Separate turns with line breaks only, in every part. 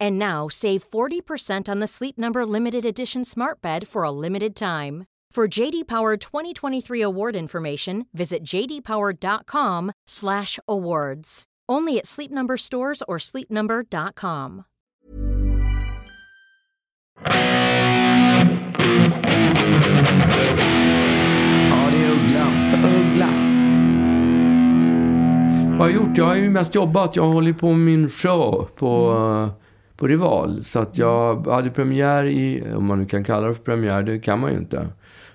And now save 40% on the Sleep Number limited edition smart bed for a limited time. For JD Power 2023 award information, visit jdpower.com/awards. Only at Sleep Number stores or sleepnumber.com.
Ja, det är Uggla.
Uggla.
Vad har jag gjort? Jag har ju mest jobbat. Jag håller på med min show på, eh, på Rival. Så att jag hade premiär i, om man nu kan kalla det för premiär, det kan man ju inte.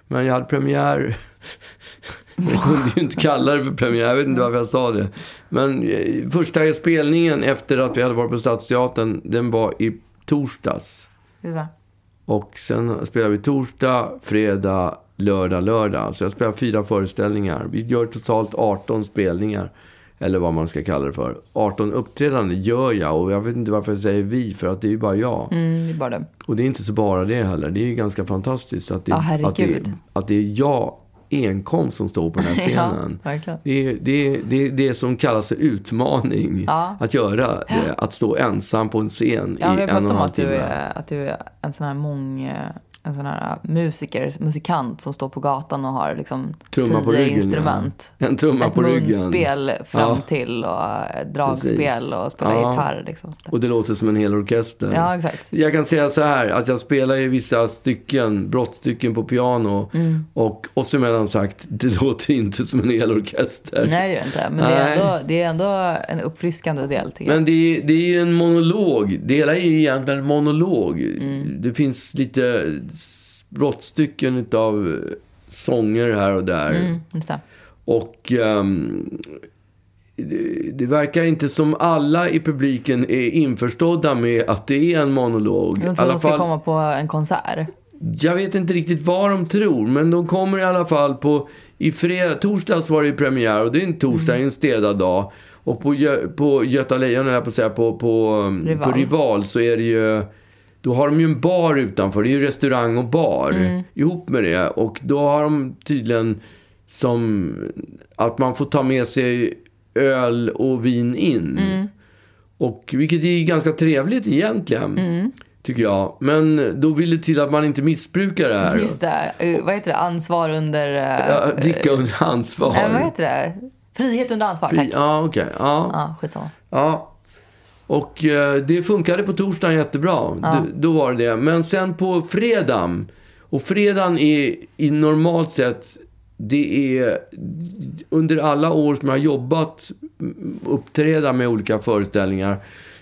Men jag hade premiär, jag kunde ju inte kalla det för premiär, jag vet inte varför jag sa det. Men eh, första spelningen efter att vi hade varit på Stadsteatern, den var i torsdags.
Just det.
Och sen spelar vi torsdag, fredag, lördag, lördag. Så jag spelar fyra föreställningar. Vi gör totalt 18 spelningar. Eller vad man ska kalla det för. 18 uppträdanden gör jag och jag vet inte varför jag säger vi för att det är ju bara jag.
Mm, det är bara det.
Och det är inte så bara det heller. Det är ju ganska fantastiskt att det,
Ja, herregud.
att det, att det är jag enkom som står på den här scenen.
Ja, verkligen.
det, är, det, är, det är det som kallas för utmaning
Ja.
att göra. Det, att stå ensam på en scen
Ja,
i en och
vi har
en
pratat om
halv
att du,
timme.
är, att du är en sån här mång... eh, En sån här musiker, musikant som står på gatan och har liksom
Trumma på
tio
ryggen, ja.
instrument.
En trumma
Ett
på ryggen.
munspel fram
Ja.
till och eh, dragspel
Precis.
och spela
Ja.
gitarr. Liksom.
Och det låter som en hel orkester.
Ja, exakt.
Jag kan säga så här, att jag spelar ju vissa stycken, brottstycken på piano.
Mm.
Och oss emellan sagt, det låter inte som en hel orkester.
Nej, det gör det inte. Men det är,
Nej.
ändå, det är ändå en uppfriskande del tycker jag.
Men det är, det är ju en monolog. Det hela är ju egentligen en monolog.
Mm.
Det finns lite s- brottstycken av sånger här och där.
Mm, just det.
Och ehm, det, det verkar inte som alla i publiken är införstådda med att det är en monolog.
Jag
I
tror
alla
de ska
fall-
komma på en konsert.
Jag vet inte riktigt vad de tror, men de kommer i alla fall på... I fred, torsdags var det ju premiär och det är en torsdag, en städad dag. Och på, Gö, på Göta Lejon, höll jag på att säga, på, på, um,
Rival.
på Rival så är det ju... Då har de ju en bar utanför. Det är ju restaurang och bar ihop med det. Och då har de tydligen som... Att man får ta med sig öl och vin in. Och, vilket är ganska trevligt egentligen, tycker jag. Men då vill det till att man inte missbrukar det här.
Just det. Eh, Vad heter det? Ansvar under... eh,
Ja, dricka under ansvar.
Nej, vad heter det? Frihet under ansvar, tack.
Ja, okej. Ja,
Ja, skitsamma.
ja. Och eh, det funkade på torsdagen jättebra. Då, då var det det. Men sen på fredagen. Och fredagen är i normalt sett, det är under alla år som jag har jobbat, m, uppträda med olika föreställningar.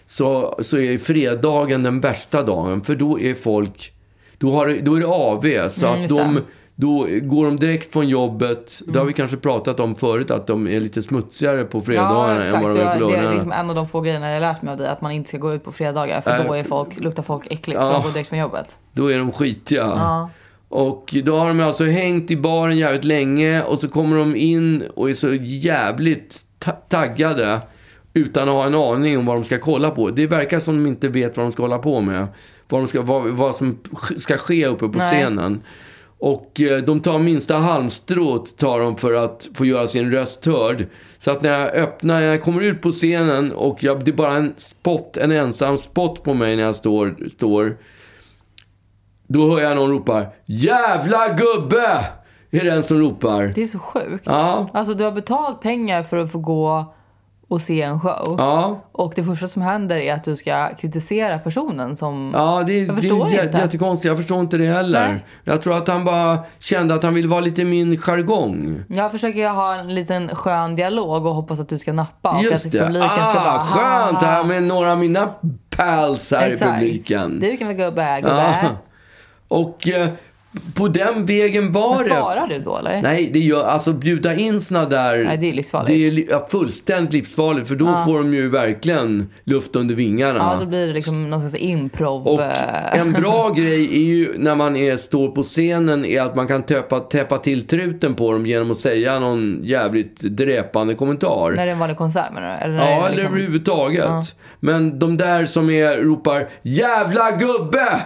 Så, så är fredagen den värsta dagen. För då är folk, då, har, det- då är det AV. Så
Mm,
att
just det. Mm.
de, då går de direkt från jobbet. Det har vi kanske pratat om förut, att de är lite smutsigare på fredagarna än vad de
Det,
är på
var- det är
lördagarna.
liksom en av de få grejerna jag lärt mig av dig, att man inte ska gå ut på fredagar för
Äh,
då är folk, luktar folk äckligt
ja.
för de går direkt från jobbet.
Då är de skitiga.
Ja.
Och då har de alltså hängt i baren jävligt länge och så kommer de in och är så jävligt ta- taggade utan att ha en aning om vad de ska kolla på. Det verkar som de inte vet vad de ska hålla på med. Vad, de ska, vad, vad som sk- ska ske uppe på
Nej.
scenen. Och eh, de tar minsta halmstrået tar de för att få göra sin röst hörd. Så att när jag öppnar, när jag kommer ut på scenen och jag, det är bara en spot, en ensam spot på mig när jag står, står då hör jag någon ropa Jävla gubbe! Är den som ropar.
Det är så sjukt.
Ja.
Alltså du har betalt pengar för att få gå och se en show.
Ja,
Och det första som händer är att du ska kritisera personen som...
ja det, det
jag förstår
är jä-
inte.
jättekonstigt. Jag förstår inte det heller.
Nej.
Jag tror att han bara kände att han ville vara lite i min jargong.
Jag försöker ju ha en liten skön dialog och hoppas att du ska nappa. och
Just
att
det.
publiken ska bara,
Ah, skönt här med några av mina pals här i
Exakt.
publiken.
Du kan väl gubbe,
Ja.
gubbe.
Och eh, på den vägen var
Men
det.
Svarar du då eller?
Nej, det gör, alltså bjuda in såna där...
Nej, det är livsfarligt.
Det är li- ja, fullständigt livsfarligt, för då får de ju verkligen luft under vingarna.
Ja, då blir det liksom någon slags improv...
Och
eh,
en bra grej är ju när man är, står på scenen är att man kan täppa, täppa till truten på dem genom att säga någon jävligt dräpande kommentar.
När det är en vanlig konsert menar du? Eller när
Ja,
det är
eller
liksom-
överhuvudtaget. Men de där som är, ropar ”Jävla gubbe!”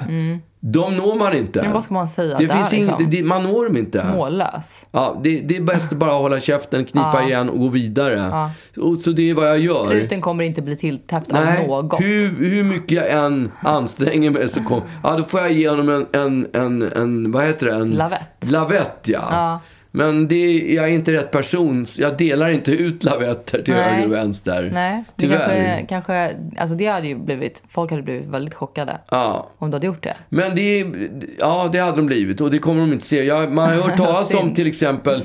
De når man inte.
Mm. Men vad ska man säga
det
där,
finns in,
liksom?
det, man når dem inte.
Mållös.
Ja, det, det är bäst att bara hålla käften, knipa igen och gå vidare. Och, så det är vad jag gör.
Truten kommer inte bli tilltäppt av något.
Hur, hur mycket jag än anstränger mig så kom, ja, då får jag ge honom en, en, en, en vad heter det? En,
Lavett.
Lavett, ja.
Ja.
Men det, jag är inte rätt person. så Jag delar inte ut lavetter till
Nej.
höger och vänster.
Nej, det
Tyvärr.
kanske, kanske, alltså det hade ju blivit, folk hade blivit väldigt chockade
Ja.
om du hade gjort det.
Men det, ja, det hade de blivit och det kommer de inte se. Jag, man har hört talas om
Synd.
till exempel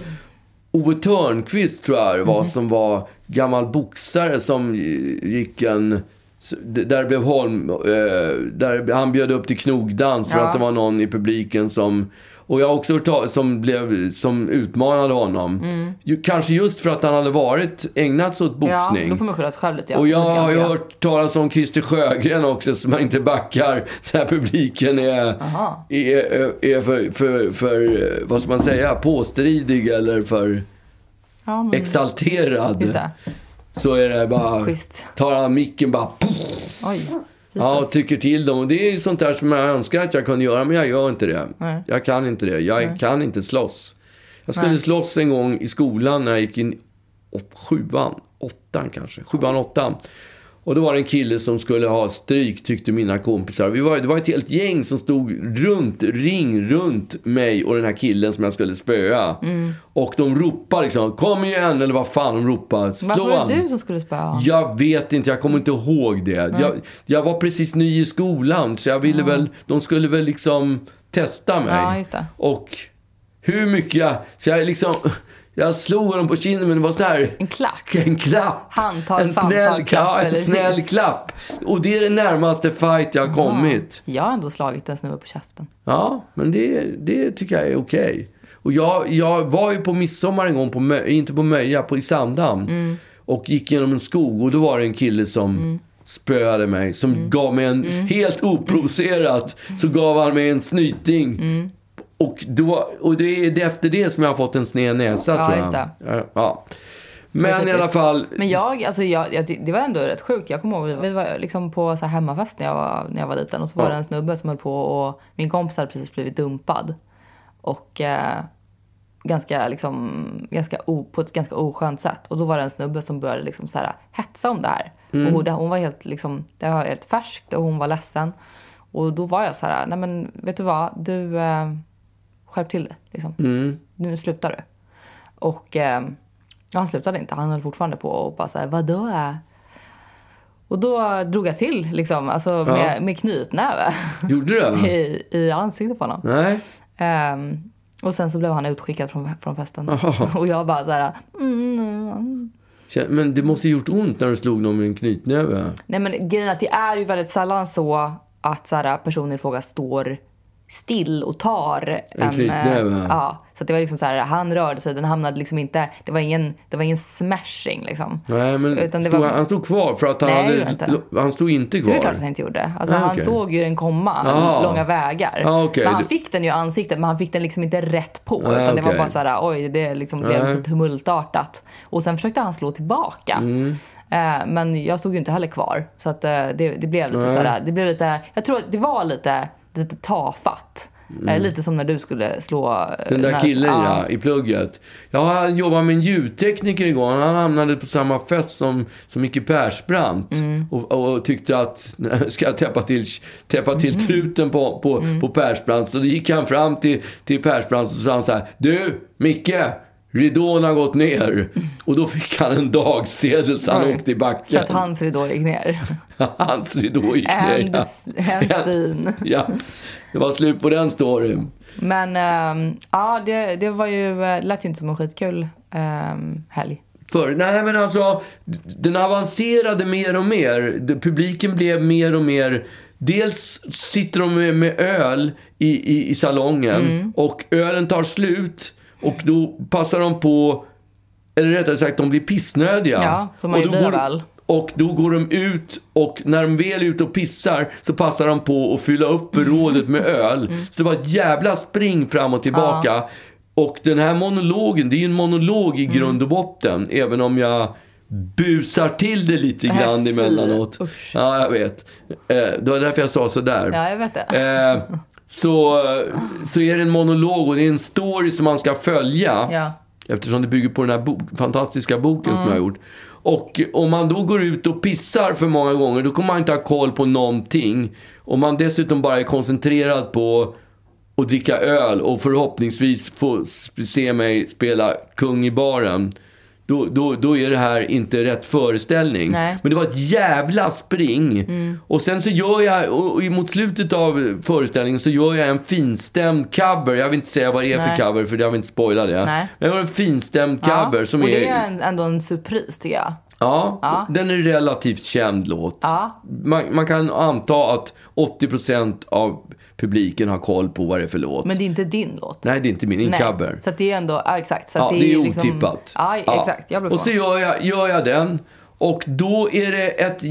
Ove Törnqvist tror jag det var, som var gammal boxare som gick en... Där blev Holm... eh, Där han bjöd upp till knogdans för
Ja.
att det var någon i publiken som... Och jag har också hört talas som, blev, som utmanade honom. Ju, kanske just för att han hade varit, ägnat sig åt boxning.
Mm. Ja, då får man skylla sig själv lite. ja.
Och jag har ju
Ja.
hört talas om Christer Sjögren också som inte backar när publiken är,
Aha.
är, är- är för, för, för, eh, vad ska man säga, påstridig eller för
Ja, men,
exalterad.
Mm. Just det.
Så är det bara,
Schysst.
tar han micken bara, puff,
Oj.
ja, typ
Jesus.
och tycker till dem. Och det är ju sånt där som jag önskar att jag kunde göra, men jag gör inte det.
Nej.
Jag kan inte det. Jag kan inte slåss. Jag skulle slåss en gång i skolan när jag gick in åt- sjuan, åttan kanske. Sjuan, åttan. Och då var det en kille som skulle ha stryk tyckte mina kompisar. Vi var, det var ett helt gäng som stod runt, ring runt mig och den här killen som jag skulle spöa.
Mm.
Och de ropade liksom, kom igen eller vad fan de ropade. Slå
Varför var
han.
det du som skulle spöa honom?
Jag vet inte, jag kommer
Mm.
inte ihåg det. Jag, jag var precis ny i skolan så jag ville väl, de skulle väl liksom testa mig.
Ja, just det.
Och hur mycket jag, så jag liksom, jag slog honom på kinden men det var sån här...
En klack?
En klapp.
Handtag,
en
fantag,
snäll,
klapp
ja, en
eller
snäll
kyss.
klapp. Och det är den närmaste fight jag har kommit.
Jag har ändå slagit en snubbe på käften.
Ja, men det, det tycker jag är okej. Och jag, jag var ju på midsommar en gång, på Mö, inte på Möja, på, i Sandhamn.
Mm.
Och gick genom en skog och då var det en kille som spöade mig. Som
Mm.
gav mig en, helt oprovocerat, så gav han mig en snyting.
Mm.
Och, då, och det är det efter det som jag har fått en sned näsa
Ja,
tror jag.
just det.
Ja. Men i alla
Typiskt.
fall,
Men jag, alltså jag, jag, det var ändå rätt sjukt. Jag kommer ihåg, vi var liksom på så här hemmafest när jag, var, när jag var liten och så var
Ja.
det en snubbe som höll på och min kompis hade precis blivit dumpad. Och eh, ganska, liksom, ganska o, på ett ganska oskönt sätt. Och då var det en snubbe som började liksom så här, hetsa om det här. Och hon, det, hon var helt, liksom, det var helt färskt och hon var ledsen. Och då var jag så här, nej men vet du vad, du eh, skärp till dig. Liksom. Nu slutar du. Och eh, han slutade inte. Han höll fortfarande på och bara så här, vadå? Och då drog jag till liksom, alltså med, med knytnäve
gjorde du det?
i, i ansiktet på honom.
Nej.
Ehm, och sen så blev han utskickad från, från festen. Och jag bara så här, mm,
Kä- Men det måste ju gjort ont när du slog någon med en knytnäve.
nej men grejen är att det är ju väldigt sällan så att så här, personen i fråga står still och tar en... eh,
knytnäve.
Ja, så att det var liksom så här, han rörde sig, den hamnade liksom inte, det var ingen, det var ingen smashing liksom.
Nej, men
Utan det
stod,
var-
han stod kvar för att han
Nej,
hade...
gjorde inte.
Han stod inte
Det
kvar.
är klart att han inte gjorde. Alltså,
Ah,
han
okej.
såg ju den komma
Ah.
långa vägar.
Ah, okej.
Men han
Du-
fick den ju i ansiktet men han fick den liksom inte rätt på.
Ah,
utan det var
okej.
bara så här, oj det liksom blev
Nej.
så tumultartat. Och sen försökte han slå tillbaka.
Mm.
Eh, men jag stod ju inte heller kvar. Så att, eh, det, det blev lite så här, det blev lite, jag tror att det var lite, lite tafatt. Eh, lite som när du skulle slå eh,
Mm. Den där
här-
killen
ja.
ja, i plugget. Jag jobbade med en ljudtekniker igår. Han hamnade på samma fest som, som Micke Persbrandt.
Mm.
Och, och, och tyckte att, ska jag täppa till, täppa till
Mm.
truten på, på, på Persbrandt? Så då gick han fram till, till Persbrandt och sa han så här. Du, Micke! Ridån har gått ner. Och då fick han en dagsedel så han
Oj.
åkte i backen.
Mm. Så att hans ridå gick ner.
Hans ridå gick ner.
And,
ja.
and scene.
Ja, det var slut på den storyn.
Men ehm, ja, det, det var ju, eh, lät ju inte som en skitkul um, helg.
För, nej men alltså, den avancerade mer och mer. Det- Publiken blev mer och mer... Dels sitter de med, med öl i, i, i salongen
Mm.
och ölen tar slut och då passar de på, eller rättare sagt de blir pissnödiga.
Ja, som man
och
ju
då
blir
går,
väl.
Och då går de ut och när de väl är ute och pissar så passar de på att fylla upp
Mm.
förrådet med öl. Så det var ett jävla spring fram och tillbaka. Och den här monologen, det är ju en monolog
Mm.
i grund och botten. Även om jag busar till det lite
Äh,
grann
fy,
emellanåt.
usch.
Ja, jag vet. Eh, Det var därför jag sa sådär.
Ja, jag vet det.
Eh, så, så är det en monolog och det är en story som man ska följa.
Ja.
Eftersom det bygger på den här bok, fantastiska boken som jag
Mm.
har gjort. Och om man då går ut och pissar för många gånger, då kommer man inte ha koll på någonting. Om man dessutom bara är koncentrerad på att dricka öl och förhoppningsvis få s- se mig spela kung i baren. Då, då, då är det här inte rätt föreställning.
Nej. Mm.
Men det var ett jävla spring. Och sen så gör jag, och och mot slutet av föreställningen så gör jag en finstämd cover. Jag vill inte säga vad det är
Nej.
för cover för jag vill inte spoila det.
Nej.
Men jag har en finstämd cover
ja.
som
och
är...
det är en, ändå en surpris tycker jag.
Ja,
Ja.
den är en relativt känd låt.
Ja.
Man, man kan anta att 80% av publiken har koll på vad det är för låt.
Men det är inte din låt.
Nej, det är inte min, det är en
Nej.
cover.
Så att det är ändå, ja exakt. Så att
Ja, det är
liksom-
otippat.
Ja, exakt. Jag blev
och så
förvånad.
gör jag, gör jag den. Och då är det ett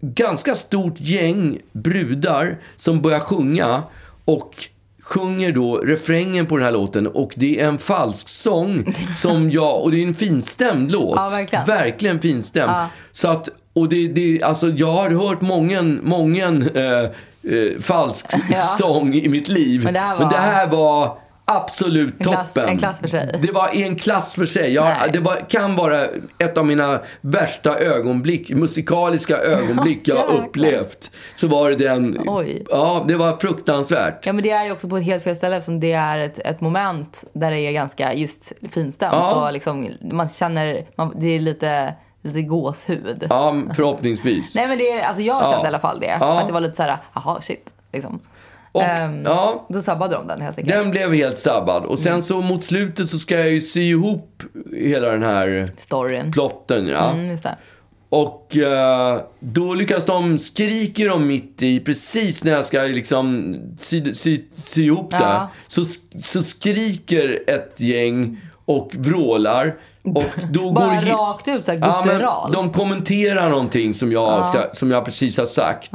ganska stort gäng brudar som börjar sjunga. Och sjunger då refrängen på den här låten. Och det är en falsk sång som jag... Och det är en finstämd låt.
Ja, verkligen.
Verkligen finstämd.
Ja.
Så att... Och det, det, alltså jag har hört mången, mången eh, eh, falsk
Ja.
sång i mitt liv.
Men det här
Men det
var-
här var absolut
En
toppen.
klass- en klass för sig.
Det var i en klass för sig. Jag,
Nej.
det var, kan vara ett av mina värsta ögonblick, musikaliska ögonblick jag har
jäklar.
upplevt. Så var det den.
Oj.
Ja, det var fruktansvärt.
Ja men det är ju också på ett helt fel ställe eftersom det är ett, ett moment där det är ganska just finstämt.
Ja.
Och liksom, man känner, man, det är lite, lite gåshud.
Ja, förhoppningsvis.
Nej men det är, alltså jag
Ja.
kände i alla fall det.
Ja.
Att det var lite såhär, jaha shit. Liksom.
Och,
Ehm,
ja.
Då sabbade de den helt enkelt.
Den blev helt sabbad. Och
Mm.
sen så mot slutet så ska jag ju sy ihop hela den här
Storyn.
plotten. Ja.
Mm, just det.
Och eh, då lyckas de, skriker de mitt i, precis när jag ska liksom sy, sy, sy ihop det.
Ja.
Så, så skriker ett gäng och vrålar. Och då
Bara
går he-
rakt ut såhär
Ja, men
gutturalt.
de kommenterar någonting som jag, ska, som jag precis har sagt.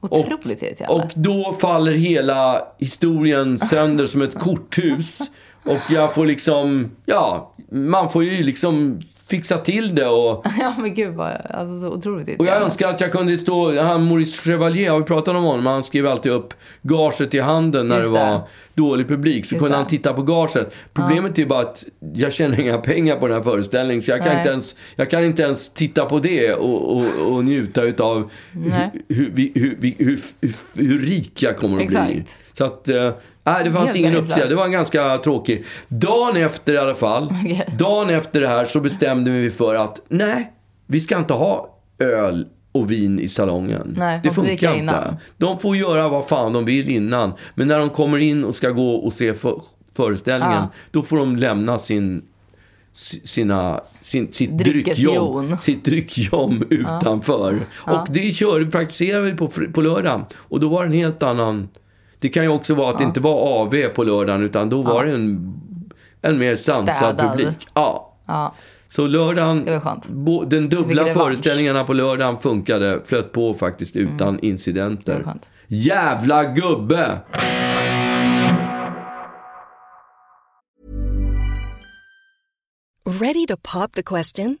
Otroligt irriterande.
Och då faller hela historien sönder som ett korthus. Och jag får liksom, ja, man får ju liksom fixa till det och
Ja men gud vad, alltså så otroligt
Och jag
irriterande.
önskar att jag kunde stå, han Maurice Chevalier, har vi pratat om honom? Han skrev alltid upp gaget i handen när
Just
det var
det.
dålig publik. Så
Just
kunde
det.
han titta på gaget. Problemet är bara att jag tjänar inga pengar på den här föreställningen. Så jag kan,
Nej.
inte ens, jag kan inte ens titta på det och, och, och njuta utav hur,
Nej.
hur, vi- hur, vi- hur, hur, hur rik jag kommer att bli.
Exakt.
Så att, eh, nej det fanns
Helt
ingen
meningslöst.
uppsida. Det var en ganska tråkig. Dagen efter i alla fall,
Okej.
dagen efter det här så bestämde vi för att nej, vi ska inte ha öl och vin i salongen.
Nej,
det
man får dricka
funkar inte.
innan.
De får göra vad fan de vill innan. Men när de kommer in och ska gå och se för, föreställningen,
Ja.
då får de lämna sin si- sina, sin, sitt,
Dryckesjon.
dryckjobb, sitt dryckjobb utanför. Och det kör, praktiserade vi på, fr- på lördagen. Och då var det en helt annan... Det kan ju också vara att det inte var AV på lördagen, utan då var det en, en mer sansad
Städad.
publik. Ja.
Ja.
Så lördagen,
Det var skönt.
bo- den dubbla
Vilken revansch.
föreställningarna på lördagen funkade, flöt på faktiskt utan
Mm. Det var
incidenter.
skönt.
Jävla gubbe!
Ready to pop the question?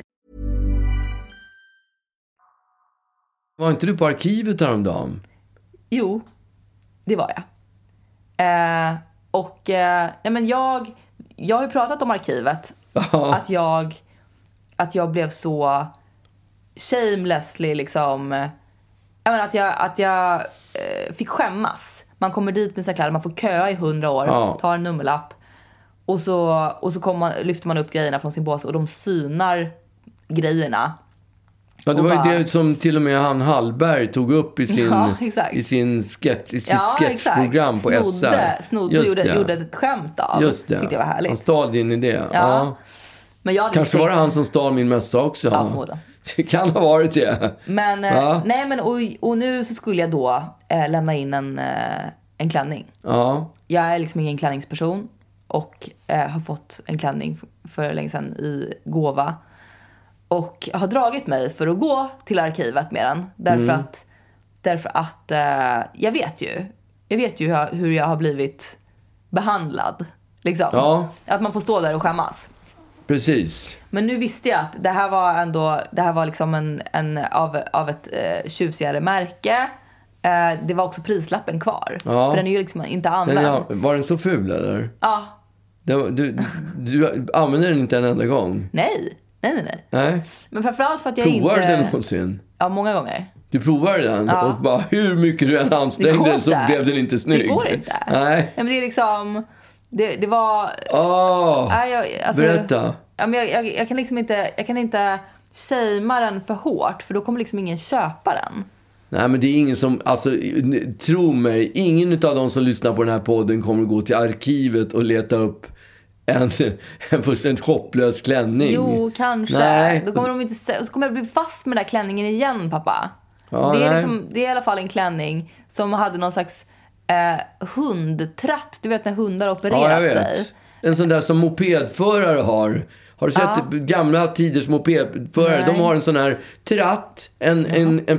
Var inte du på arkivet häromdagen?
Jo, det var jag. Eh, och eh, nej men jag, jag har ju pratat om arkivet. Att, jag, att jag blev så shamelessly liksom. eh, Jag menar, att jag, att jag eh, fick skämmas. Man kommer dit med sina kläder, man får köa i hundra år,
Ja.
tar en nummerlapp. Och så, och så kommer man, lyfter man upp grejerna från sin påse och de synar grejerna.
Ja, det
Och
var ju
bara-
det som till och med han Hallberg tog upp i, sin,
Ja, exakt.
i, sin sketch, i sitt
exakt.
sketchprogram på
snodde,
SR.
Snodde,
Just
gjorde,
det.
gjorde ett skämt av.
Just det.
Tyckte jag var
Han
härligt.
stal din idé. Ja.
Men jag hade
Kanske
inte
var det
tänkt-
han som stal min mössa också.
Ja, förmodligen.
det kan ha varit det.
Men, eh,
Ja.
nej, men och, och nu så skulle jag då eh, lämna in en, eh, en klänning.
Ja,
Jag är liksom ingen klänningsperson och eh, har fått en klänning f- för länge sedan i gåva. Och har dragit mig för att gå till arkivet med den. Därför
Mm.
att, därför att eh, jag vet ju. Jag vet ju hur jag, hur jag har blivit behandlad. Liksom.
Ja.
Att man får stå där och skämmas.
precis.
Men nu visste jag att det här var ändå, det här var liksom en, en av, av ett eh, tjusigare märke. Eh, det var också prislappen kvar.
Ja.
För den är ju liksom inte
Den,
använd.
ja, var den så ful eller?
Ja.
Den, du, du använde den inte en enda gång?
Nej. nej, nej, nej.
Nej.
Men framförallt för att jag
Provade
inte...
den någonsin?
Ja, många gånger.
Du provade den
Ja.
och bara hur mycket du än ansträngde dig så blev den inte snygg.
Det går inte.
Nej.
Ja, men det är liksom... Det, det var...
Åh,
Nej, jag, alltså,
berätta.
Ja, men jag, jag, jag kan liksom inte... Jag kan inte shamea den för hårt för då kommer liksom ingen köpa den.
Nej men det är ingen som, alltså n- tro mig, ingen av de som lyssnar på den här podden kommer att gå till arkivet och leta upp en, en fullständigt hopplös klänning.
Jo, kanske.
Nej.
Då kommer de inte se- och så kommer jag bli fast med den där klänningen igen, pappa.
Ja,
det, är
nej.
liksom, det är i alla fall en klänning som hade någon slags eh, hundtratt. Du vet när hundar har opererat
ja, jag
sig.
vet. En sån där som mopedförare har. Har du sett gamla tiders mopedförare? De
Nej.
har en sån här tratt, en, en, en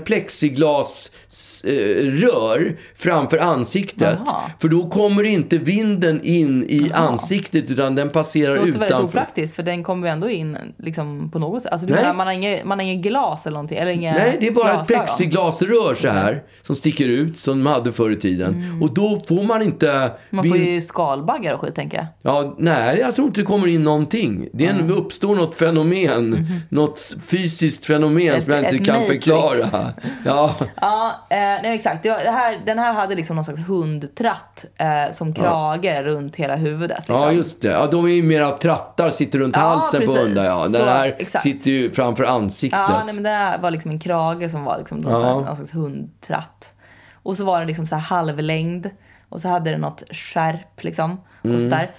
plexiglasrör framför ansiktet.
Jaha.
För då kommer inte vinden in i ansiktet utan den passerar
Det låter väldigt
utanför.
opraktiskt för den kommer ju ändå in liksom, på något sätt. Alltså, du
Nej.
menar, man, har inget, man har inget glas eller någonting? Eller inga
Nej, det är bara ett
glasögon.
plexiglasrör så här som sticker ut som de hade förr i tiden. Och då får man inte...
Mm. Man
vind-
får ju skalbaggar och skit tänker jag.
Ja, nej, jag tror inte det kommer in någonting. Det är en, uppstår något fenomen, något fysiskt fenomen
Mhm. Ett-
som jag
ett
inte kan
matrix.
förklara. Ja,
Ja, eh, nej, exakt. Det var, det här, den här hade liksom någon slags hundtratt eh, som krage runt hela huvudet. Liksom.
ja, just det. Ja, de är ju mera trattar, sitter runt
Ja,
halsen på
precis.
hundar. Ja. Den
Så,
här
exakt.
sitter ju framför ansiktet.
Ja, nej, men det här var liksom en krage som var liksom någon,
Ja.
slags, någon slags hundtratt. Och så var den liksom så här halvlängd. Och så hade den något skärp liksom.
Mm.
Och så där.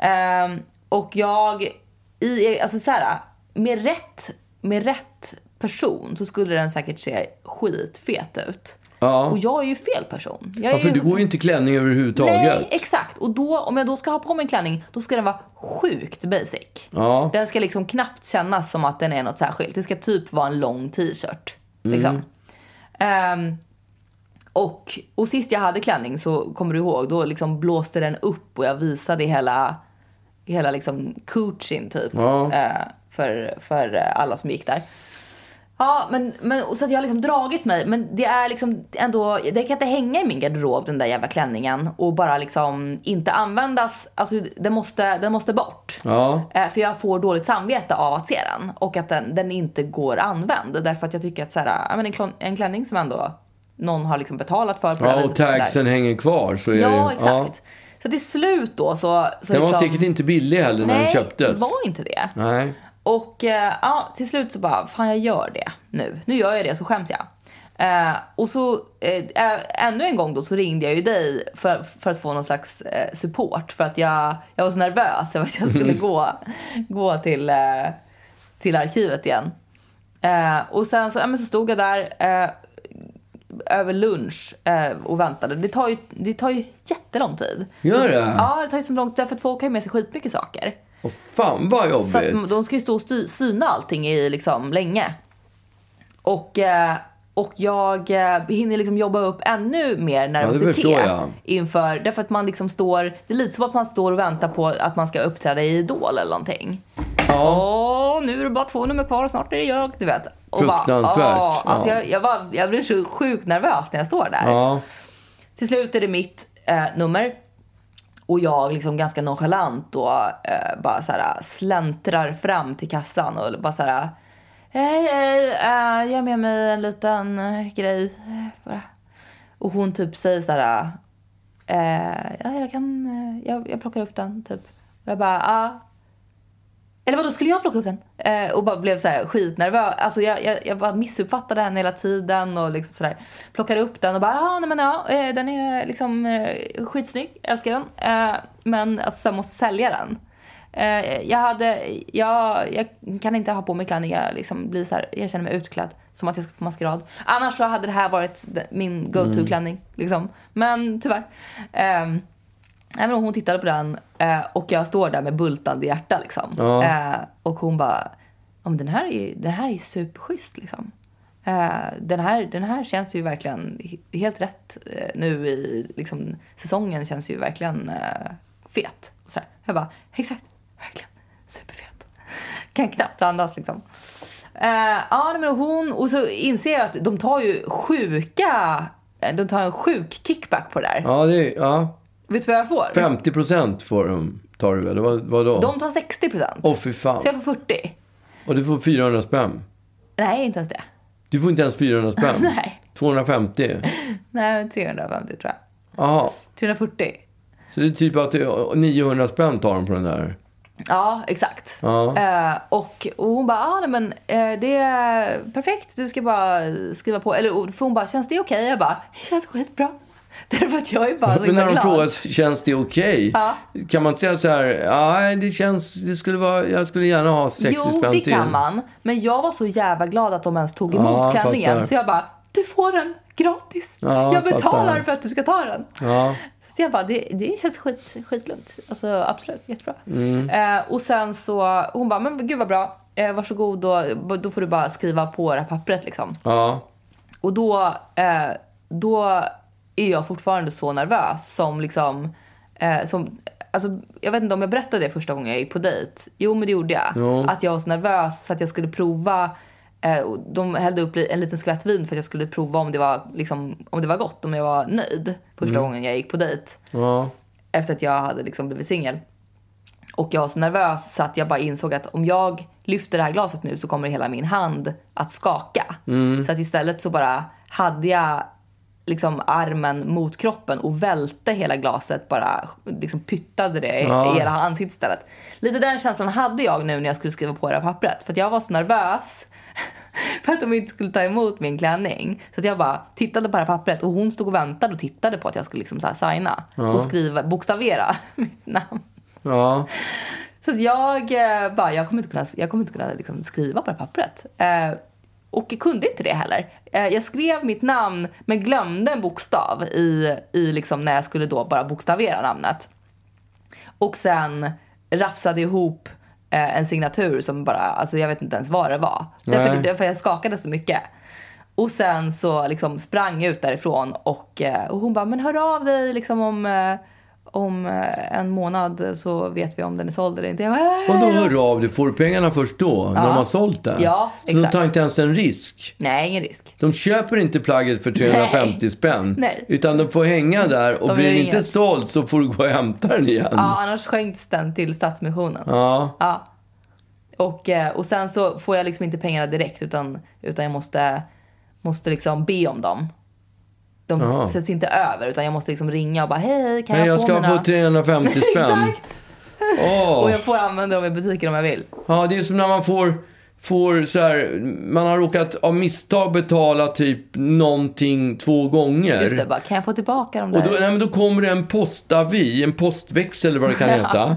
Ehm, och jag, i, alltså så här, med rätt, med rätt person så skulle den säkert se skitfet ut.
Ja.
Och jag är ju fel person. Jag är
ja, för
ju...
det går ju inte klänning överhuvudtaget.
Nej, exakt. Och då, om jag då ska ha på mig en klänning, då ska den vara sjukt basic.
Ja.
Den ska liksom knappt kännas som att den är något särskilt. Det ska typ vara en lång t-shirt.
Mm.
Liksom. Ehm, och, och sist jag hade klänning så kommer du ihåg, då liksom blåste den upp och jag visade hela, hela liksom coachin typ.
Ja.
eh, för, för eh, alla som gick där. Ja, men, men och så att jag har liksom dragit mig. Men det är liksom ändå, det kan inte hänga i min garderob den där jävla klänningen och bara liksom inte användas. Alltså den måste, den måste bort.
Ja.
Eh, För jag får dåligt samvete av att se den och att den, den inte går använd. Därför att jag tycker att så här, ja, men en, klon, en klänning som ändå någon har liksom betalat för på det här
Ja, och
viset och så där.
tagsen hänger kvar. Så är
Ja,
det,
exakt. Så till slut då så... så
Den var
liksom,
säkert inte billig heller när
nej,
den köptes.
det var inte det.
Nej.
Och eh, ja, till slut så bara, fan jag gör det. nu. Nu gör jag det så skäms jag. Eh, och så eh, ä- ännu en gång då så ringde jag ju dig för, för att få någon slags eh, support för att jag, jag var så nervös över att jag
Mm.
skulle gå, gå till, eh, till arkivet igen. Eh, och sen så, ja, men så stod jag där eh, över lunch eh, och väntade. Det tar ju, det tar ju jättelång tid.
Gör det?
Ja, det tar ju så lång tid därför att folk har ju med sig skitmycket saker.
Och fan vad
Så att
jobbigt.
de ska ju stå och sty- syna allting i liksom länge. Och, eh, och jag eh, hinner liksom jobba upp ännu mer nervositet
förstår jag.
inför, därför att man liksom står, det är lite som att man står och väntar på att man ska uppträda i Idol eller någonting. Ja. Åh, nu är det bara två nummer kvar och snart är det jag, du vet. Och bara,
Fruktansvärt,
åh, alltså
ja.
jag, jag, var, jag blir så sjukt nervös när jag står där.
Ja.
Till slut är det mitt eh, nummer. Och jag liksom ganska nonchalant då eh, bara så här släntrar fram till kassan och bara så här. Hej, hej, eh, jag har med mig en liten eh, grej. eh, Bara. Och hon typ säger så här. Eh, ja, jag kan, eh, jag, jag plockar upp den typ. Och jag bara, ah. Eller vadå, skulle jag plocka upp den? Eh, och bara blev så här skitnervös. Alltså jag, jag, jag bara missuppfattade henne hela tiden och liksom sådär. Plockade upp den och bara, ja nej men ja, eh, den är liksom eh, skitsnygg, älskar den. Eh, men alltså så här, måste sälja den. Eh, jag hade, jag, jag kan inte ha på mig klänning, jag liksom blir så här, jag känner mig utklädd. Som att jag ska på maskerad. Annars så hade det här varit de- min go-to-klänning liksom. Men tyvärr. Ehm, Nej, men hon tittade på den eh, och jag står där med bultande hjärta. Liksom.
Ja.
Eh, och hon bara, "Ja, men den här är ju, den här är ju superschysst. Liksom. Eh, den, här, den här känns ju verkligen he- helt rätt eh, nu i liksom, säsongen. känns ju verkligen eh, fet. Och sådär. Jag bara, exakt, verkligen superfet. Kan knappt andas liksom. Eh, ja, nej, men hon, och så inser jag att de tar ju sjuka, eh, de tar en sjuk kickback på det där.
Ja, det är, ja.
Vet du vad jag får?
50 procent får de, tar du väl? Vad, vadå?
De tar 60 procent.
Åh, fy fan.
Så jag får 40.
Och du får 400 spänn.
Nej, inte ens det.
Du får inte ens 400 spänn.
Nej.
250.
Nej, 350 tror jag.
Ja.
340.
Så det är typ att det är 900 spänn tar de på den där.
Ja, exakt.
Ja.
Eh, och, och hon bara, ah, nej men eh, det är perfekt. Du ska bara skriva på. Eller och- för hon bara, känns det okej? Jag bara, det känns skitbra. Därför att jag är bara så
Men
himla
när de
glad.
frågar, känns det okej?
Ja.
Kan man inte säga så här, nej det känns, det skulle vara, jag skulle gärna ha 60
Jo,
spänn
det
till."
kan man. Men jag var så jävla glad att de ens tog emot
Ja, jag
klänningen.
fattar.
Så jag bara, du får den gratis.
Ja,
jag
jag
betalar
fattar.
för att du ska ta den.
Ja.
Så jag bara, det, det känns skit, skitlugnt. Alltså absolut, jättebra. Eh, och sen så, hon bara, men gud vad bra. Eh, varsågod, då, då får du bara skriva på det här pappret liksom.
Ja.
Och då, eh, då är jag fortfarande så nervös som liksom... Eh, som, alltså, jag vet inte om jag berättade det första gången jag gick på dejt. Jo, men det gjorde jag.
Jo.
Att jag var så nervös så att jag skulle prova... Eh, och de hällde upp li- en liten skvätt vin för att jag skulle prova om det var, liksom, om det var gott, om jag var nöjd. Första gången jag gick på dejt
Ja.
efter att jag hade liksom blivit singel. Och jag var så nervös så att jag bara insåg att om jag lyfter det här glaset nu så kommer hela min hand att skaka. Så att istället så bara hade jag liksom armen mot kroppen och välte hela glaset, bara liksom pyttade det i- i hela ansiktet istället. Lite den känslan hade jag nu när jag skulle skriva på det här pappret. För att jag var så nervös för att de inte skulle ta emot min klänning. Så att jag bara tittade på det här pappret och hon stod och väntade och tittade på att jag skulle liksom så här signa och skriva, bokstavera mitt namn.
Ja.
Så att jag eh, bara, jag kommer inte kunna, jag kommer inte kunna liksom skriva på det här pappret. Eh, och jag kunde inte det heller. Eh, jag skrev mitt namn men glömde en bokstav i, i liksom när jag skulle då bara bokstavera namnet. Och sen rafsade ihop eh, en signatur som bara, alltså jag vet inte ens vad det var. Därför,
Nej.
därför jag skakade så mycket. Och sen så liksom sprang jag ut därifrån och, eh, och hon bara, men hör av dig liksom om, eh, om eh, en månad så vet vi om den är såld eller inte. Jag bara, "Äh,
Och då
då."
hör du av dig, får du pengarna först då? När de har sålt den?
Ja,
Så de
exakt.
tar inte ens en risk?
Nej, ingen risk.
De köper inte plagget för 350 spänn.
Nej.
Utan de får hänga där och
De
blir
gör
den
inget.
inte såld så får du gå och hämta den igen.
Ja, annars skänks den till Stadsmissionen.
Mm. Ja.
Ja. Och, eh, och sen så får jag liksom inte pengarna direkt utan, utan jag måste, måste liksom be om dem. De
Jaha.
sätts inte över utan jag måste liksom ringa och bara hej, hej kan
Men
jag,
jag
få
ska
mina...
få 350 spänn.
Exakt!
Åh.
Och jag får använda dem i butiken om jag vill.
Ja, det är som när man får får så här, man har råkat av misstag betala typ någonting två gånger.
Just det, bara, kan jag få tillbaka de där?
Och då, nej, men då kommer det en postavi, en postväxel eller vad det kan heta.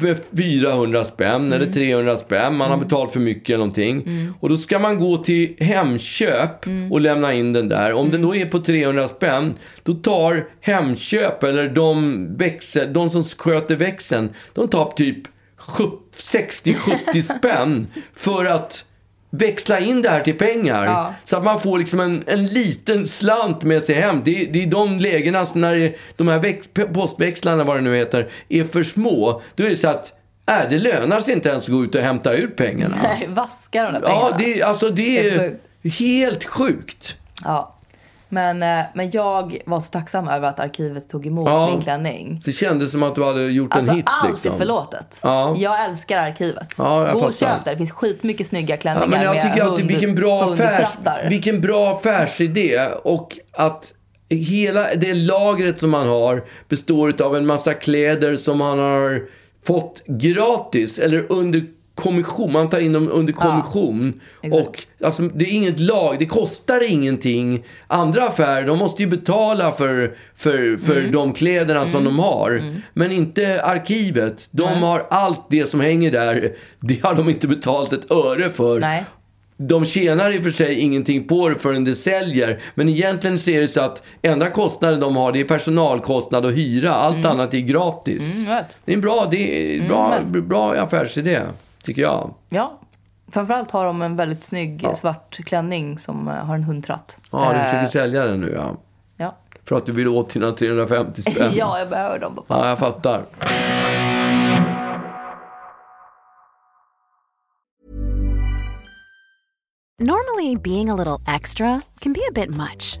Med 400 spänn eller 300 spänn. Man har betalat för mycket eller någonting. Och då ska man gå till Hemköp och lämna in den där. Om den då är på 300 spänn, då tar Hemköp eller de, växel, de som sköter växeln, de tar typ 60-70 spänn för att växla in det här till pengar.
Ja.
Så att man får liksom en, en liten slant med sig hem. Det, är- det är de lägena som när det- de här väx, postväxlarna, vad det nu heter, är för små. Då är det så att äh, det lönar sig inte ens att gå ut och hämta ut pengarna.
Nej, vaska de där pengarna.
ja, det, är- alltså det
Helt
är helt sjukt.
Ja. Men, eh, men jag var så tacksam över att arkivet tog emot
Ja.
min klänning.
Det kändes som att du hade gjort
Alltså
en hit.
allt
liksom.
är förlåtet.
Ja.
Jag älskar arkivet.
Ja, jag
Gå och
fattar.
köp där. Det finns skitmycket snygga klänningar
Ja, men jag
med
tycker att det-
hund-
vilken bra, affärs,
hundtrattar.
vilken bra affärsidé och att hela det lagret som man har består av en massa kläder som man har fått gratis eller under kommission. Man tar in dem under kommission. och alltså, det är inget lag, det kostar ingenting. Andra affärer, de måste ju betala för, för, för de kläderna som de har. Men inte arkivet. De har allt det som hänger där. Det har de inte betalt ett öre för.
Nej.
De tjänar i och för sig ingenting på det förrän det säljer. Men egentligen så är det så att enda kostnaden de har det är personalkostnad och hyra. Allt annat är gratis.
Mm, jag vet.
det är en bra, det är en bra, bra affärsidé, tycker jag.
Ja. Framförallt har de en väldigt snygg svart klänning som eh, har en hundtratt.
Ja, du
Eh,
försöker sälja den nu ja.
ja.
För att du vill åt dina 350 spänn.
ja, jag behöver dem.
ja, jag fattar.
Normally, being a little extra can be a bit much,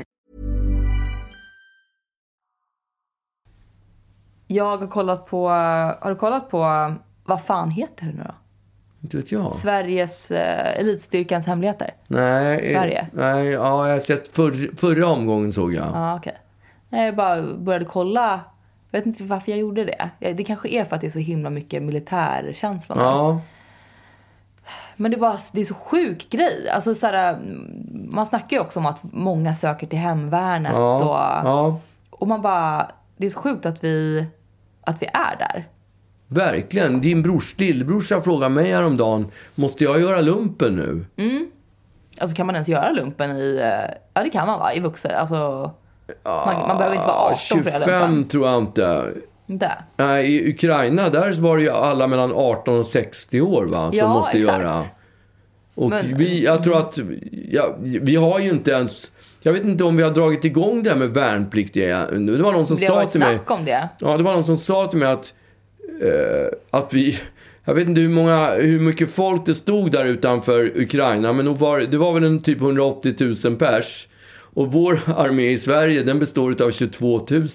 Jag har kollat på... eh, Har du kollat på... Vad fan heter det nu då?
Inte vet jag.
Sveriges eh, elitstyrkans hemligheter.
Nej, eh,
Sverige.
Nej, ja, jag har sett förr, förra omgången såg jag.
Ja, okej. Nej, Jag bara började kolla. Jag vet inte varför jag gjorde det. Ja, Det kanske är för att det är så himla mycket militärkänsla.
Ja,
Men det, är bara, det är så sjuk grej. Alltså, så här, mm, man snackar ju också om att många söker till hemvärnet.
ja,
Och,
ja.
och man bara... Det är så sjukt att vi, att vi är där.
Verkligen. Din brors lillebrorsa frågade mig häromdagen, måste jag göra lumpen nu?
Alltså kan man ens göra lumpen i... eh, Ja, det kan man va? I vuxen... Alltså, man, man behöver inte vara 18 för att göra
25
lumpen.
tror jag inte.
Inte?
Nej, I Ukraina, där var det ju alla mellan 18 och 60 år va, som
Ja,
måste
exakt.
göra. Och
Men-
vi, jag tror att, ja, vi har ju inte ens, jag vet inte om vi har dragit igång det här med värnplikt. igen. Det var någon som
Det har
sa
varit
till mig.
snack om det.
Ja, det var någon som sa till mig att, eh, att vi... Jag vet inte hur, många, hur mycket folk det stod där utanför Ukraina, men nog var, det var väl en typ 180 000 pers. Och vår armé i Sverige, den består av 22 000.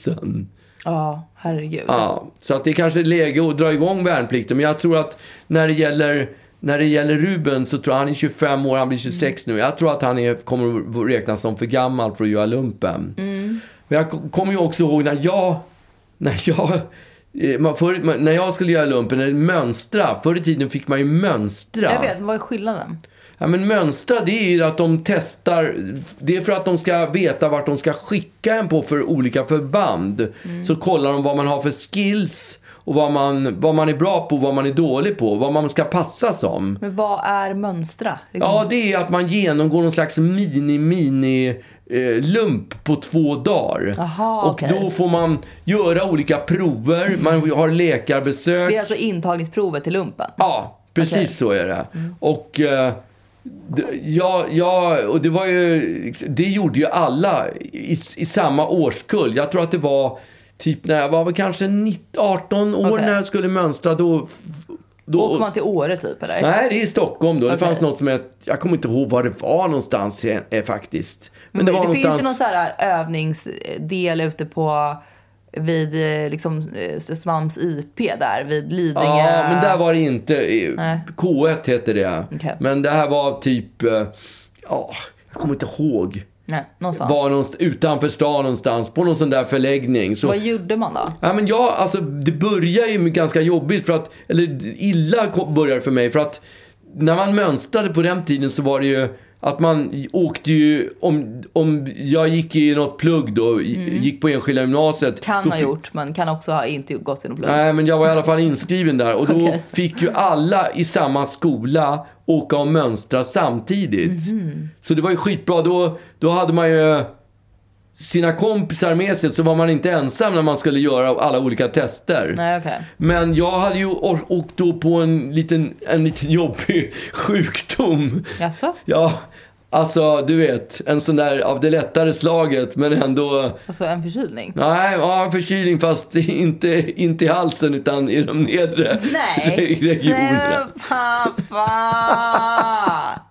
Ja, herregud.
Ja, så att det kanske är läge att dra igång värnplikten. Men jag tror att när det gäller, när det gäller Ruben så tror jag han är 25 år, han blir 26 nu. Jag tror att han är, kommer att räknas som för gammal för att göra lumpen. Men jag kom- kommer ju också ihåg när jag, när jag eh, man förr, man, när jag skulle göra lumpen, eller mönstra. Förr i tiden fick man ju mönstra.
Jag vet, vad är skillnaden?
Ja, men mönstra, det är ju att de testar. Det är för att de ska veta vart de ska skicka en på för olika förband.
Mm.
Så kollar de vad man har för skills och vad man, vad man är bra på och vad man är dålig på. Vad man ska passa som.
Men vad är mönstra? Liksom,
Ja, det är att man genomgår någon slags mini-mini eh, lump på två dagar.
Aha,
och
okej.
då får man göra olika prover. Man har läkarbesök.
Det är alltså intagningsprovet till lumpen?
Ja, precis
Okej. Mm.
så är det. Och, eh, d- ja, ja, och det var ju, det gjorde ju alla i, i samma årskull. Jag tror att det var typ när jag var väl kanske 19, 18 år
Okej.
när jag skulle mönstra. Då, då,
Åker man till Åre typ eller?
Nej, det är i Stockholm då. Det
Okej.
fanns något som jag, jag kommer inte ihåg var det var någonstans eh, eh, faktiskt. Men,
Men
det
Mm, det,
var
finns ju
någonstans...
någon så här eh, övningsdel ute på vid eh, liksom eh, Södermalms IP där vid Lidingö.
Ja, men där var det inte. eh, K1 hette det.
Okej.
Men det här var typ, eh, ja, jag kommer inte ihåg.
Nej, någonstans.
var någonstans, utanför stan någonstans, på någon sån där förläggning. Så,
Vad gjorde man då?
ja, men jag, alltså, det börjar ju med ganska jobbigt, för att, eller illa ko- börjar det för mig. För att när man mönstrade på den tiden så var det ju att man åkte ju, om, om jag gick i något plugg då, i- gick på enskilda gymnasiet.
Mm. Kan
då
ha
fick-
gjort, men kan också ha inte gått genom plugg.
Nej, men jag var i alla fall inskriven där. Och då
Okej.
fick ju alla i samma skola åka och mönstra samtidigt.
Mhm.
Så det var ju skitbra. Då, då hade man ju sina kompisar med sig, så var man inte ensam när man skulle göra alla olika tester.
Nej, okej.
Men jag hade ju å- åkt då på en liten, en liten jobbig sjukdom.
Jaså?
Ja, alltså du vet, en sån där av det lättare slaget, men ändå
Alltså en förkylning?
Nej, ja, en förkylning fast inte, inte i halsen utan i de nedre
Nej. Nej,
regionerna.
men pappa!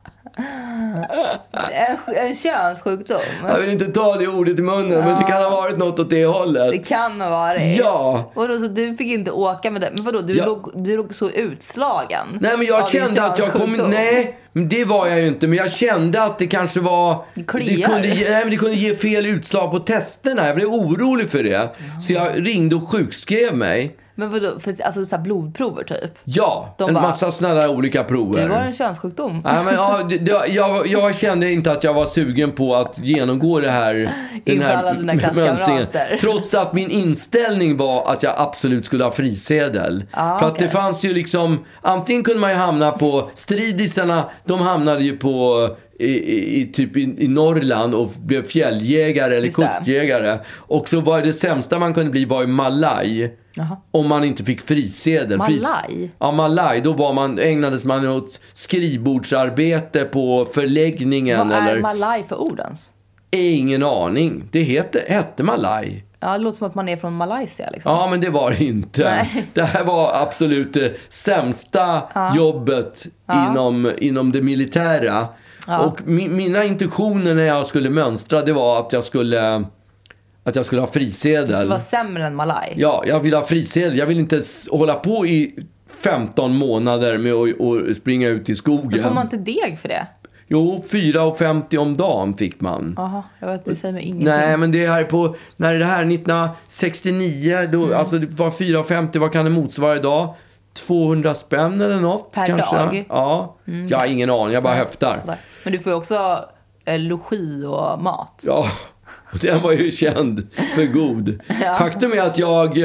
En, en könssjukdom?
Jag vill inte ta det ordet i munnen men det kan ha varit något åt det
Det
hållet.
kan ha varit.
Ja.
Vadå, så du fick inte åka med det? Men vadå, du,
Ja.
låg, du låg så utslagen?
Nej men
av
jag
din
kände att jag kom...
könssjukdom?
Nej, men det var jag ju inte. Men jag kände att det kanske var...
kliar.
kunde, ge- nej, men det kunde ge fel utslag på testerna. Jag blev orolig för det. Så jag ringde och sjukskrev mig.
Men vadå, för, alltså så här blodprover typ?
Ja,
De
en
bara,
massa sådana där olika prover.
Du har en könssjukdom.
Nej, men, ja, det, det, jag, jag kände inte att jag var sugen på att genomgå det här, den
Inför
här
alla dina
m-
klasskamrater.
mönstringen. Trots att min inställning var att jag absolut skulle ha frisedel.
Ah,
För att det fanns ju liksom, antingen kunde man ju hamna på, stridisarna, de hamnade ju på i, i, i typ i, i Norrland och blev fjälljägare eller
Just det.
kustjägare. Och så var det sämsta man kunde bli var ju malaj. Om man inte fick frisedel. Fris-
Malaj?
Ja, Malaj. Då var man, ägnades man åt skrivbordsarbete på förläggningen.
Vad är
eller...
malaj för ord ens?
Ingen aning. Det heter, hette Malaj.
Ja, det låter som att man är från Malaysia liksom.
Ja, men det var det inte.
Nej.
Det här var absolut det sämsta jobbet Inom, inom det militära. Och mi, mina intentioner när jag skulle mönstra, det var att jag skulle, att jag skulle ha frisedel.
Du var sämre än malaj.
Ja, jag vill ha frisedel. Jag vill inte s- hålla på i 15 månader med att att springa ut i
Då får
skogen.
man inte deg för det.
Jo, 4,50 om dagen fick man.
Jaha, jag vet, det säger mig ingenting.
Nej, men det här är på, när är det här? 1969, då,
Mm.
alltså det var 4,50, vad kan det motsvara idag? 200 spänn eller något
Per
kanske?
dag? Mm.
Ja, jag har ingen aning, jag bara höftar.
Där. Men du får ju också eh, logi och mat.
Ja, och den var ju känd för god. Faktum är att jag,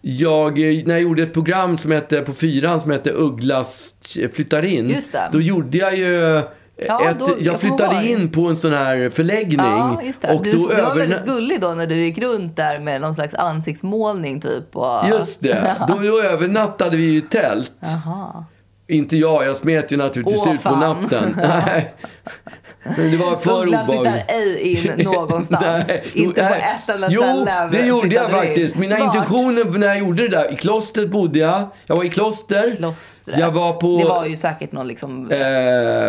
jag, när jag gjorde ett program som hette, på fyran som hette Ugglas flyttar in.
Just det.
Då gjorde jag ju ett,
då-
jag,
jag
flyttade
kommer ihåg.
in på en sån här förläggning.
Ja, just det.
Och
du,
då
du var
överna-
väldigt gullig då när du gick runt där med någon slags ansiktsmålning typ. Och...
Just det. Då, då övernattade vi i tält. Inte jag, jag smet ju naturligtvis
Åh,
ut på
fan.
natten. Nej. Men det var för
Ugglan flyttar
obehagligt.
ej in någonstans.
Nej, jo,
Inte på
nej.
ett enda
Jo,
ställe.
det gjorde jag
flyttade du in.
faktiskt. Mina
Vart?
intentioner när jag gjorde det där. I klostret bodde jag. Jag var i kloster.
Klostret.
Jag var på...
Det var ju säkert någon liksom...
eh,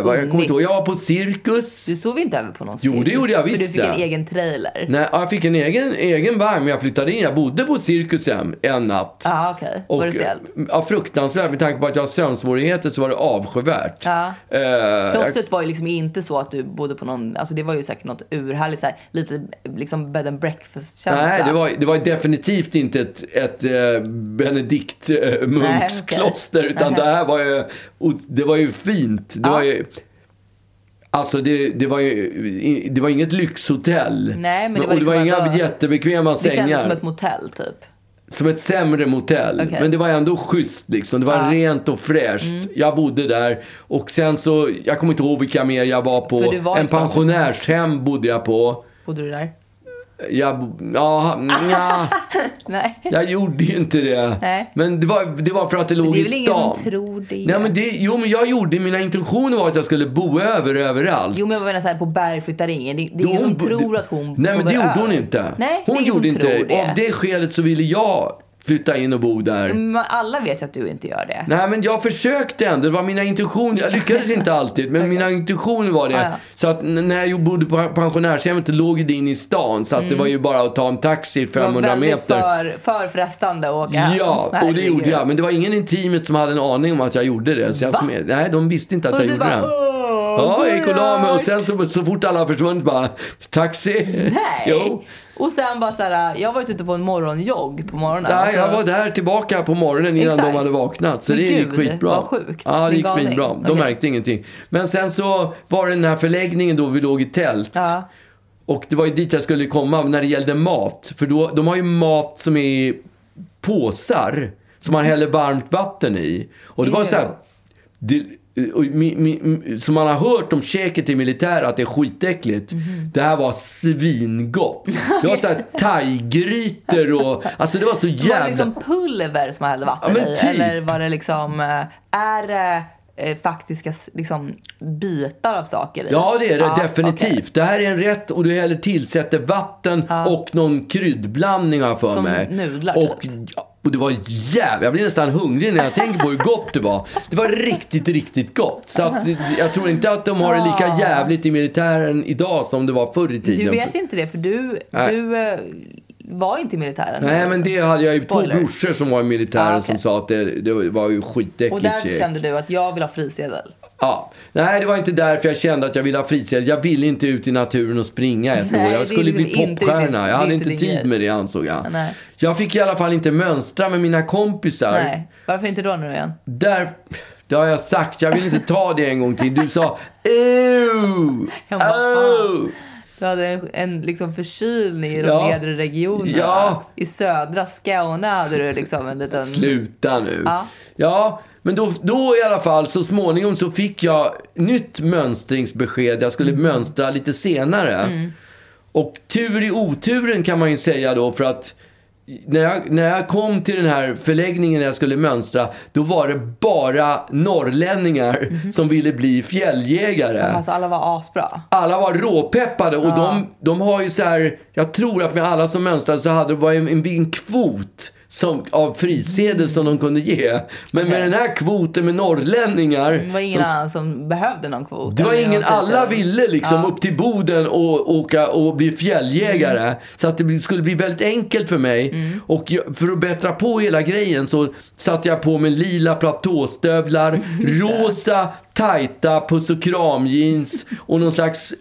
vad, jag kommer inte ihåg. Jag var på cirkus.
Du sov inte över på någon
Jo, det
cirkus,
gjorde jag
För
visst
du fick en
det. Mm.
egen trailer.
Nej, ja, jag fick en egen, egen vagn, men jag flyttade in. Jag bodde på cirkusen en natt.
Ja, ah, okej. Var det stelt?
ja, fruktansvärt. Med tanke på att jag har sömnsvårigheter så var det avskyvärt.
Ja.
Eh, jag-
Klostret var ju liksom inte så att du bodde på någon, alltså det var ju säkert något urhärligt så här, lite liksom bed and breakfast-känsla.
Nej, det var, det var definitivt inte ett, ett eh, benedikt eh, munkskloster.
okej.
Utan det här var ju, och det var ju fint. Det var ju Alltså det, det, var ju, det var inget lyxhotell.
Nej, men det var
och det var
liksom
inga
bara-
jättebekväma
Det
sängar.
kändes som ett motell typ.
som ett sämre motell.
Okej. Mm.
Men det var ändå schysst liksom. Det var rent och fräscht. Jag bodde där. Och sen så, jag kommer inte ihåg vilka mer jag var
För
på.
du var
en
inte på-
pensionärshem bodde jag på.
Bodde du där?
Jag, bo- ja, ja,
Nej.
jag gjorde ju inte det.
Nej.
Men det var, det var för att det låg
det är
i
väl
stan.
ingen som tror det.
Nej, men det, jo, men jag gjorde, mina intentioner var att jag skulle bo över överallt.
Jo men jag menar såhär på berg flyttar ingen. Det, det är ingen
Hon
som
bo-
tror att hon
Nej, men
sover
det gjorde hon
över.
inte.
Nej, det
hon
är ingen
gjorde
som
inte.
tror det. Mm.
Av det skälet så ville jag flytta in och bo där.
Men alla vet ju att du inte gör det.
Nej, men jag försökte ändå. Det var mina intentioner. Jag lyckades inte alltid, men mina intentioner var det.
Ah, ja.
Så att n- när jag bodde på pensionärshemmet då låg det in i stan. Så att det var ju bara att ta en taxi
Mm. Det var
500
väldigt
meter.
för, för frestande att åka hem.
Ja, och det gjorde jag. Men det var ingen i teamet som hade en aning om att jag gjorde det. Så jag som, nej, de visste inte att
Och
jag
du
gjorde
bara
det.
åh,
Ja, jag gick och la mig och
Björk."
sen så, så fort alla har försvunnit bara, taxi.
Nej.
Jo.
Och sen bara såhär, jag var ute på en morgonjogg på morgonen.
Nej,
Alltså,
jag var där tillbaka på morgonen innan
Exakt.
de hade vaknat. Så
Men
det gick
gud,
skitbra.
vad sjukt.
Ja, det
Din
gick
galning.
skitbra. De
Okej.
märkte ingenting. Men sen så var det den här förläggningen då vi låg i tält.
Ja.
Och det var ju dit jag skulle komma när det gällde mat. För då, de har ju mat som är i påsar som man häller varmt vatten i. Och det var
Ew.
så här, det, och, mi, mi, mi, som man har hört om käket i militär att det är skitäckligt.
Mhm.
Det här var svingott. Det var så här thaigrytor och... Alltså det var så
Var det
jävla...
liksom pulver som man hällde vatten
Ja, men
i?
typ.
Eller var det liksom, eh, är det eh, faktiska s- liksom, bitar av saker i?
Ja, det är det
Ja,
definitivt.
okej.
Det här är en rätt och du häller tillsätter vatten och någon kryddblandning har jag för
Som
mig.
nudlar,
och,
typ.
ja, och det var jävligt, jag blir nästan hungrig när jag tänker på hur gott det var. Det var riktigt, riktigt gott. Så att, jag tror inte att de har det lika jävligt i militären idag som det var förr i tiden.
Du Ah. vet inte det för du,
Nej.
du eh, var inte i militären.
Nej, men det hade jag ju
Spoiler.
två brorsor som var i militären
Ah, okej.
som sa att det, det var ju skitäckligt
Och därför
käk.
kände du att jag vill ha frisedel.
Ja. Nej, det var inte därför jag kände att jag ville ha frisedel. Jag ville inte ut i naturen och springa ett
Nej,
år.
det är
Jag skulle
liksom
bli
inte riktigt-
popstjärna.
det är
Jag hade inte
inte din
tid
grej.
med det ansåg jag.
Nej.
Jag fick i alla fall inte mönstra med mina kompisar.
Nej. Varför inte då nu igen?
Där, det har jag sagt. Jag vill inte ta det en gång till. Du sa Ew!
Jag bara, fan.
Ew!
Du hade en, en liksom förkylning i de
Ja.
nedre regionerna.
Ja.
I södra Skåne hade du liksom en liten...
Sluta nu.
Ja.
Ja, men då, då i alla fall så småningom så fick jag nytt mönstringsbesked. Jag skulle mönstra lite senare. Och tur i oturen kan man ju säga då för att när jag, när jag kom till den här förläggningen när jag skulle mönstra, då var det bara norrlänningar som ville bli fjälljägare.
Alltså alla var asbra.
Alla var råpeppade och de, de har ju så här, jag tror att med alla som mönstrade så hade det varit en, en, en kvot som, av frisedel som de kunde ge. Men med den här kvoten med norrlänningar.
Mm, Det var ingen
som,
annan som behövde någon kvot.
det var
eller
ingen,
någon frisedel.
alla ville liksom upp till Boden och åka och bli fjälljägare.
Mm.
Så att det bli- skulle bli väldigt enkelt för mig. Och jag, för att bättra på hela grejen så satte jag på mig lila platåstövlar, rosa tajta puss och kram jeans och någon slags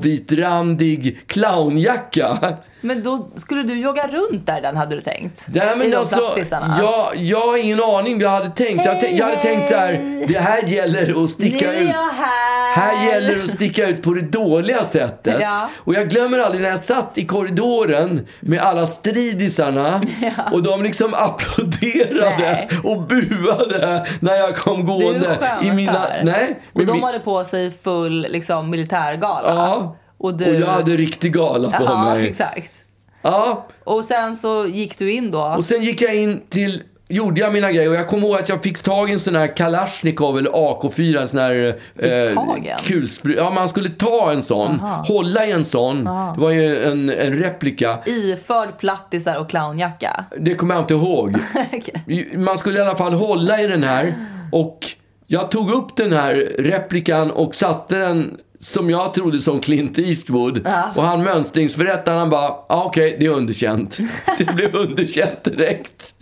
blåvitrandig clownjacka.
Men då skulle du jogga runt där den hade du tänkt?
Nej,
I
men
de
alltså,
plattisarna?
jag, jag har ingen aning. Jag hade tänkt, jag, hade- jag hade tänkt så här, det här gäller att
Nu
sticka
är
ut.
jag här!
Här gäller det att sticka ut på det dåliga sättet.
Äh. Ja.
Och jag glömmer aldrig när jag satt i korridoren med alla stridisarna och de liksom applåderade
Nej.
och buade när jag kom gående
skämtar.
i mina... Nej,
Och
med
de
min-
hade på sig full liksom, militärgala.
Ja.
Och du...
Och jag hade riktig gala på
ja,
mig.
exakt.
Ja,
Och sen så gick du in då.
Och sen gick jag in till, gjorde jag mina grejer och jag kommer ihåg att jag fick tag i en sån här Kalashnikov eller AK4, en sån här eh,
tag i en?
kulspr- Ja, man skulle ta en sån, hålla i en sån. Det var ju en, en replika.
Iförd plattisar och clownjacka.
Det kommer jag inte ihåg. Man skulle i alla fall hålla i den här. Och jag tog upp den här replikan och satte den som jag trodde som Clint Eastwood. Och han mönstringsförrättaren han bara, ah, okej det är underkänt. Det blev underkänt direkt.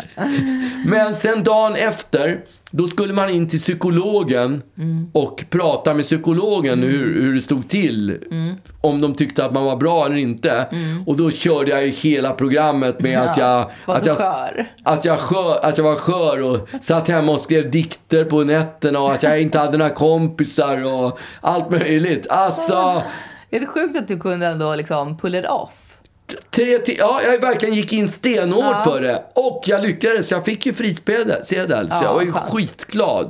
Men sen dagen efter Då skulle man in till psykologen
Mm.
och prata med psykologen hur, hur det stod till.
Mm.
Om de tyckte att man var bra eller inte. Och då körde jag ju hela programmet med att jag...
var
att
så
jag,
skör.
Att jag, skör, att jag var skör och satt hemma och skrev dikter på nätterna och att jag inte hade några kompisar och allt möjligt. Alltså...
Är det sjukt att du kunde ändå liksom pull it off?
Tre ti- ja, jag verkligen gick in stenhårt för det. Och jag lyckades. Jag fick ju frisedel. sedel, Så alltså. jag var ju
skönt.
skitglad.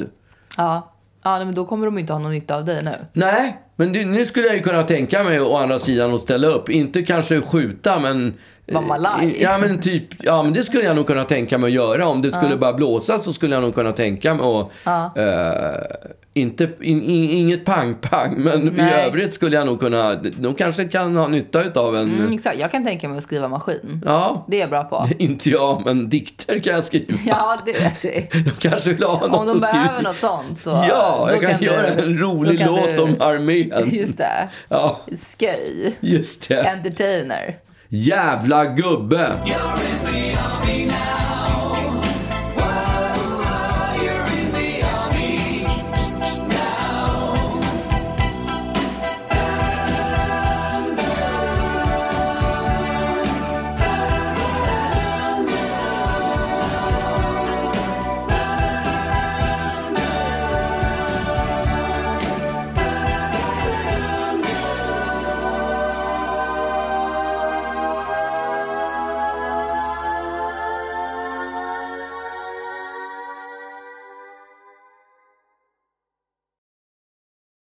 Ja. Ja, nej, men då kommer de inte ha någon nytta av dig nu.
Nej, men nu- nu skulle jag ju kunna tänka mig å andra sidan att ställa upp. Inte kanske skjuta, men... eh,
Vara malaj.
Ja, men typ. Ja, men det skulle jag nog kunna tänka mig att göra. Om det skulle börja blåsa så skulle jag nog kunna tänka mig att... eh, inte, in, in, inget pang-pang, men i
Nej.
övrigt skulle jag nog kunna... De kanske kan ha nytta av en...
Mm, exakt. Jag kan tänka mig att skriva maskin.
Ja.
Det är jag bra på.
Inte jag, men dikter kan jag skriva.
Ja, det vet vi.
De kanske vill ha någon
Om de
som skriver.
behöver något sånt så...
typ- Ja,
då
jag kan, göra en rolig
då kan
låt
du-
om armén.
Just det.
Ja,
Sköj.
just det.
Entertainer.
Jävla gubbe!
You're in the army.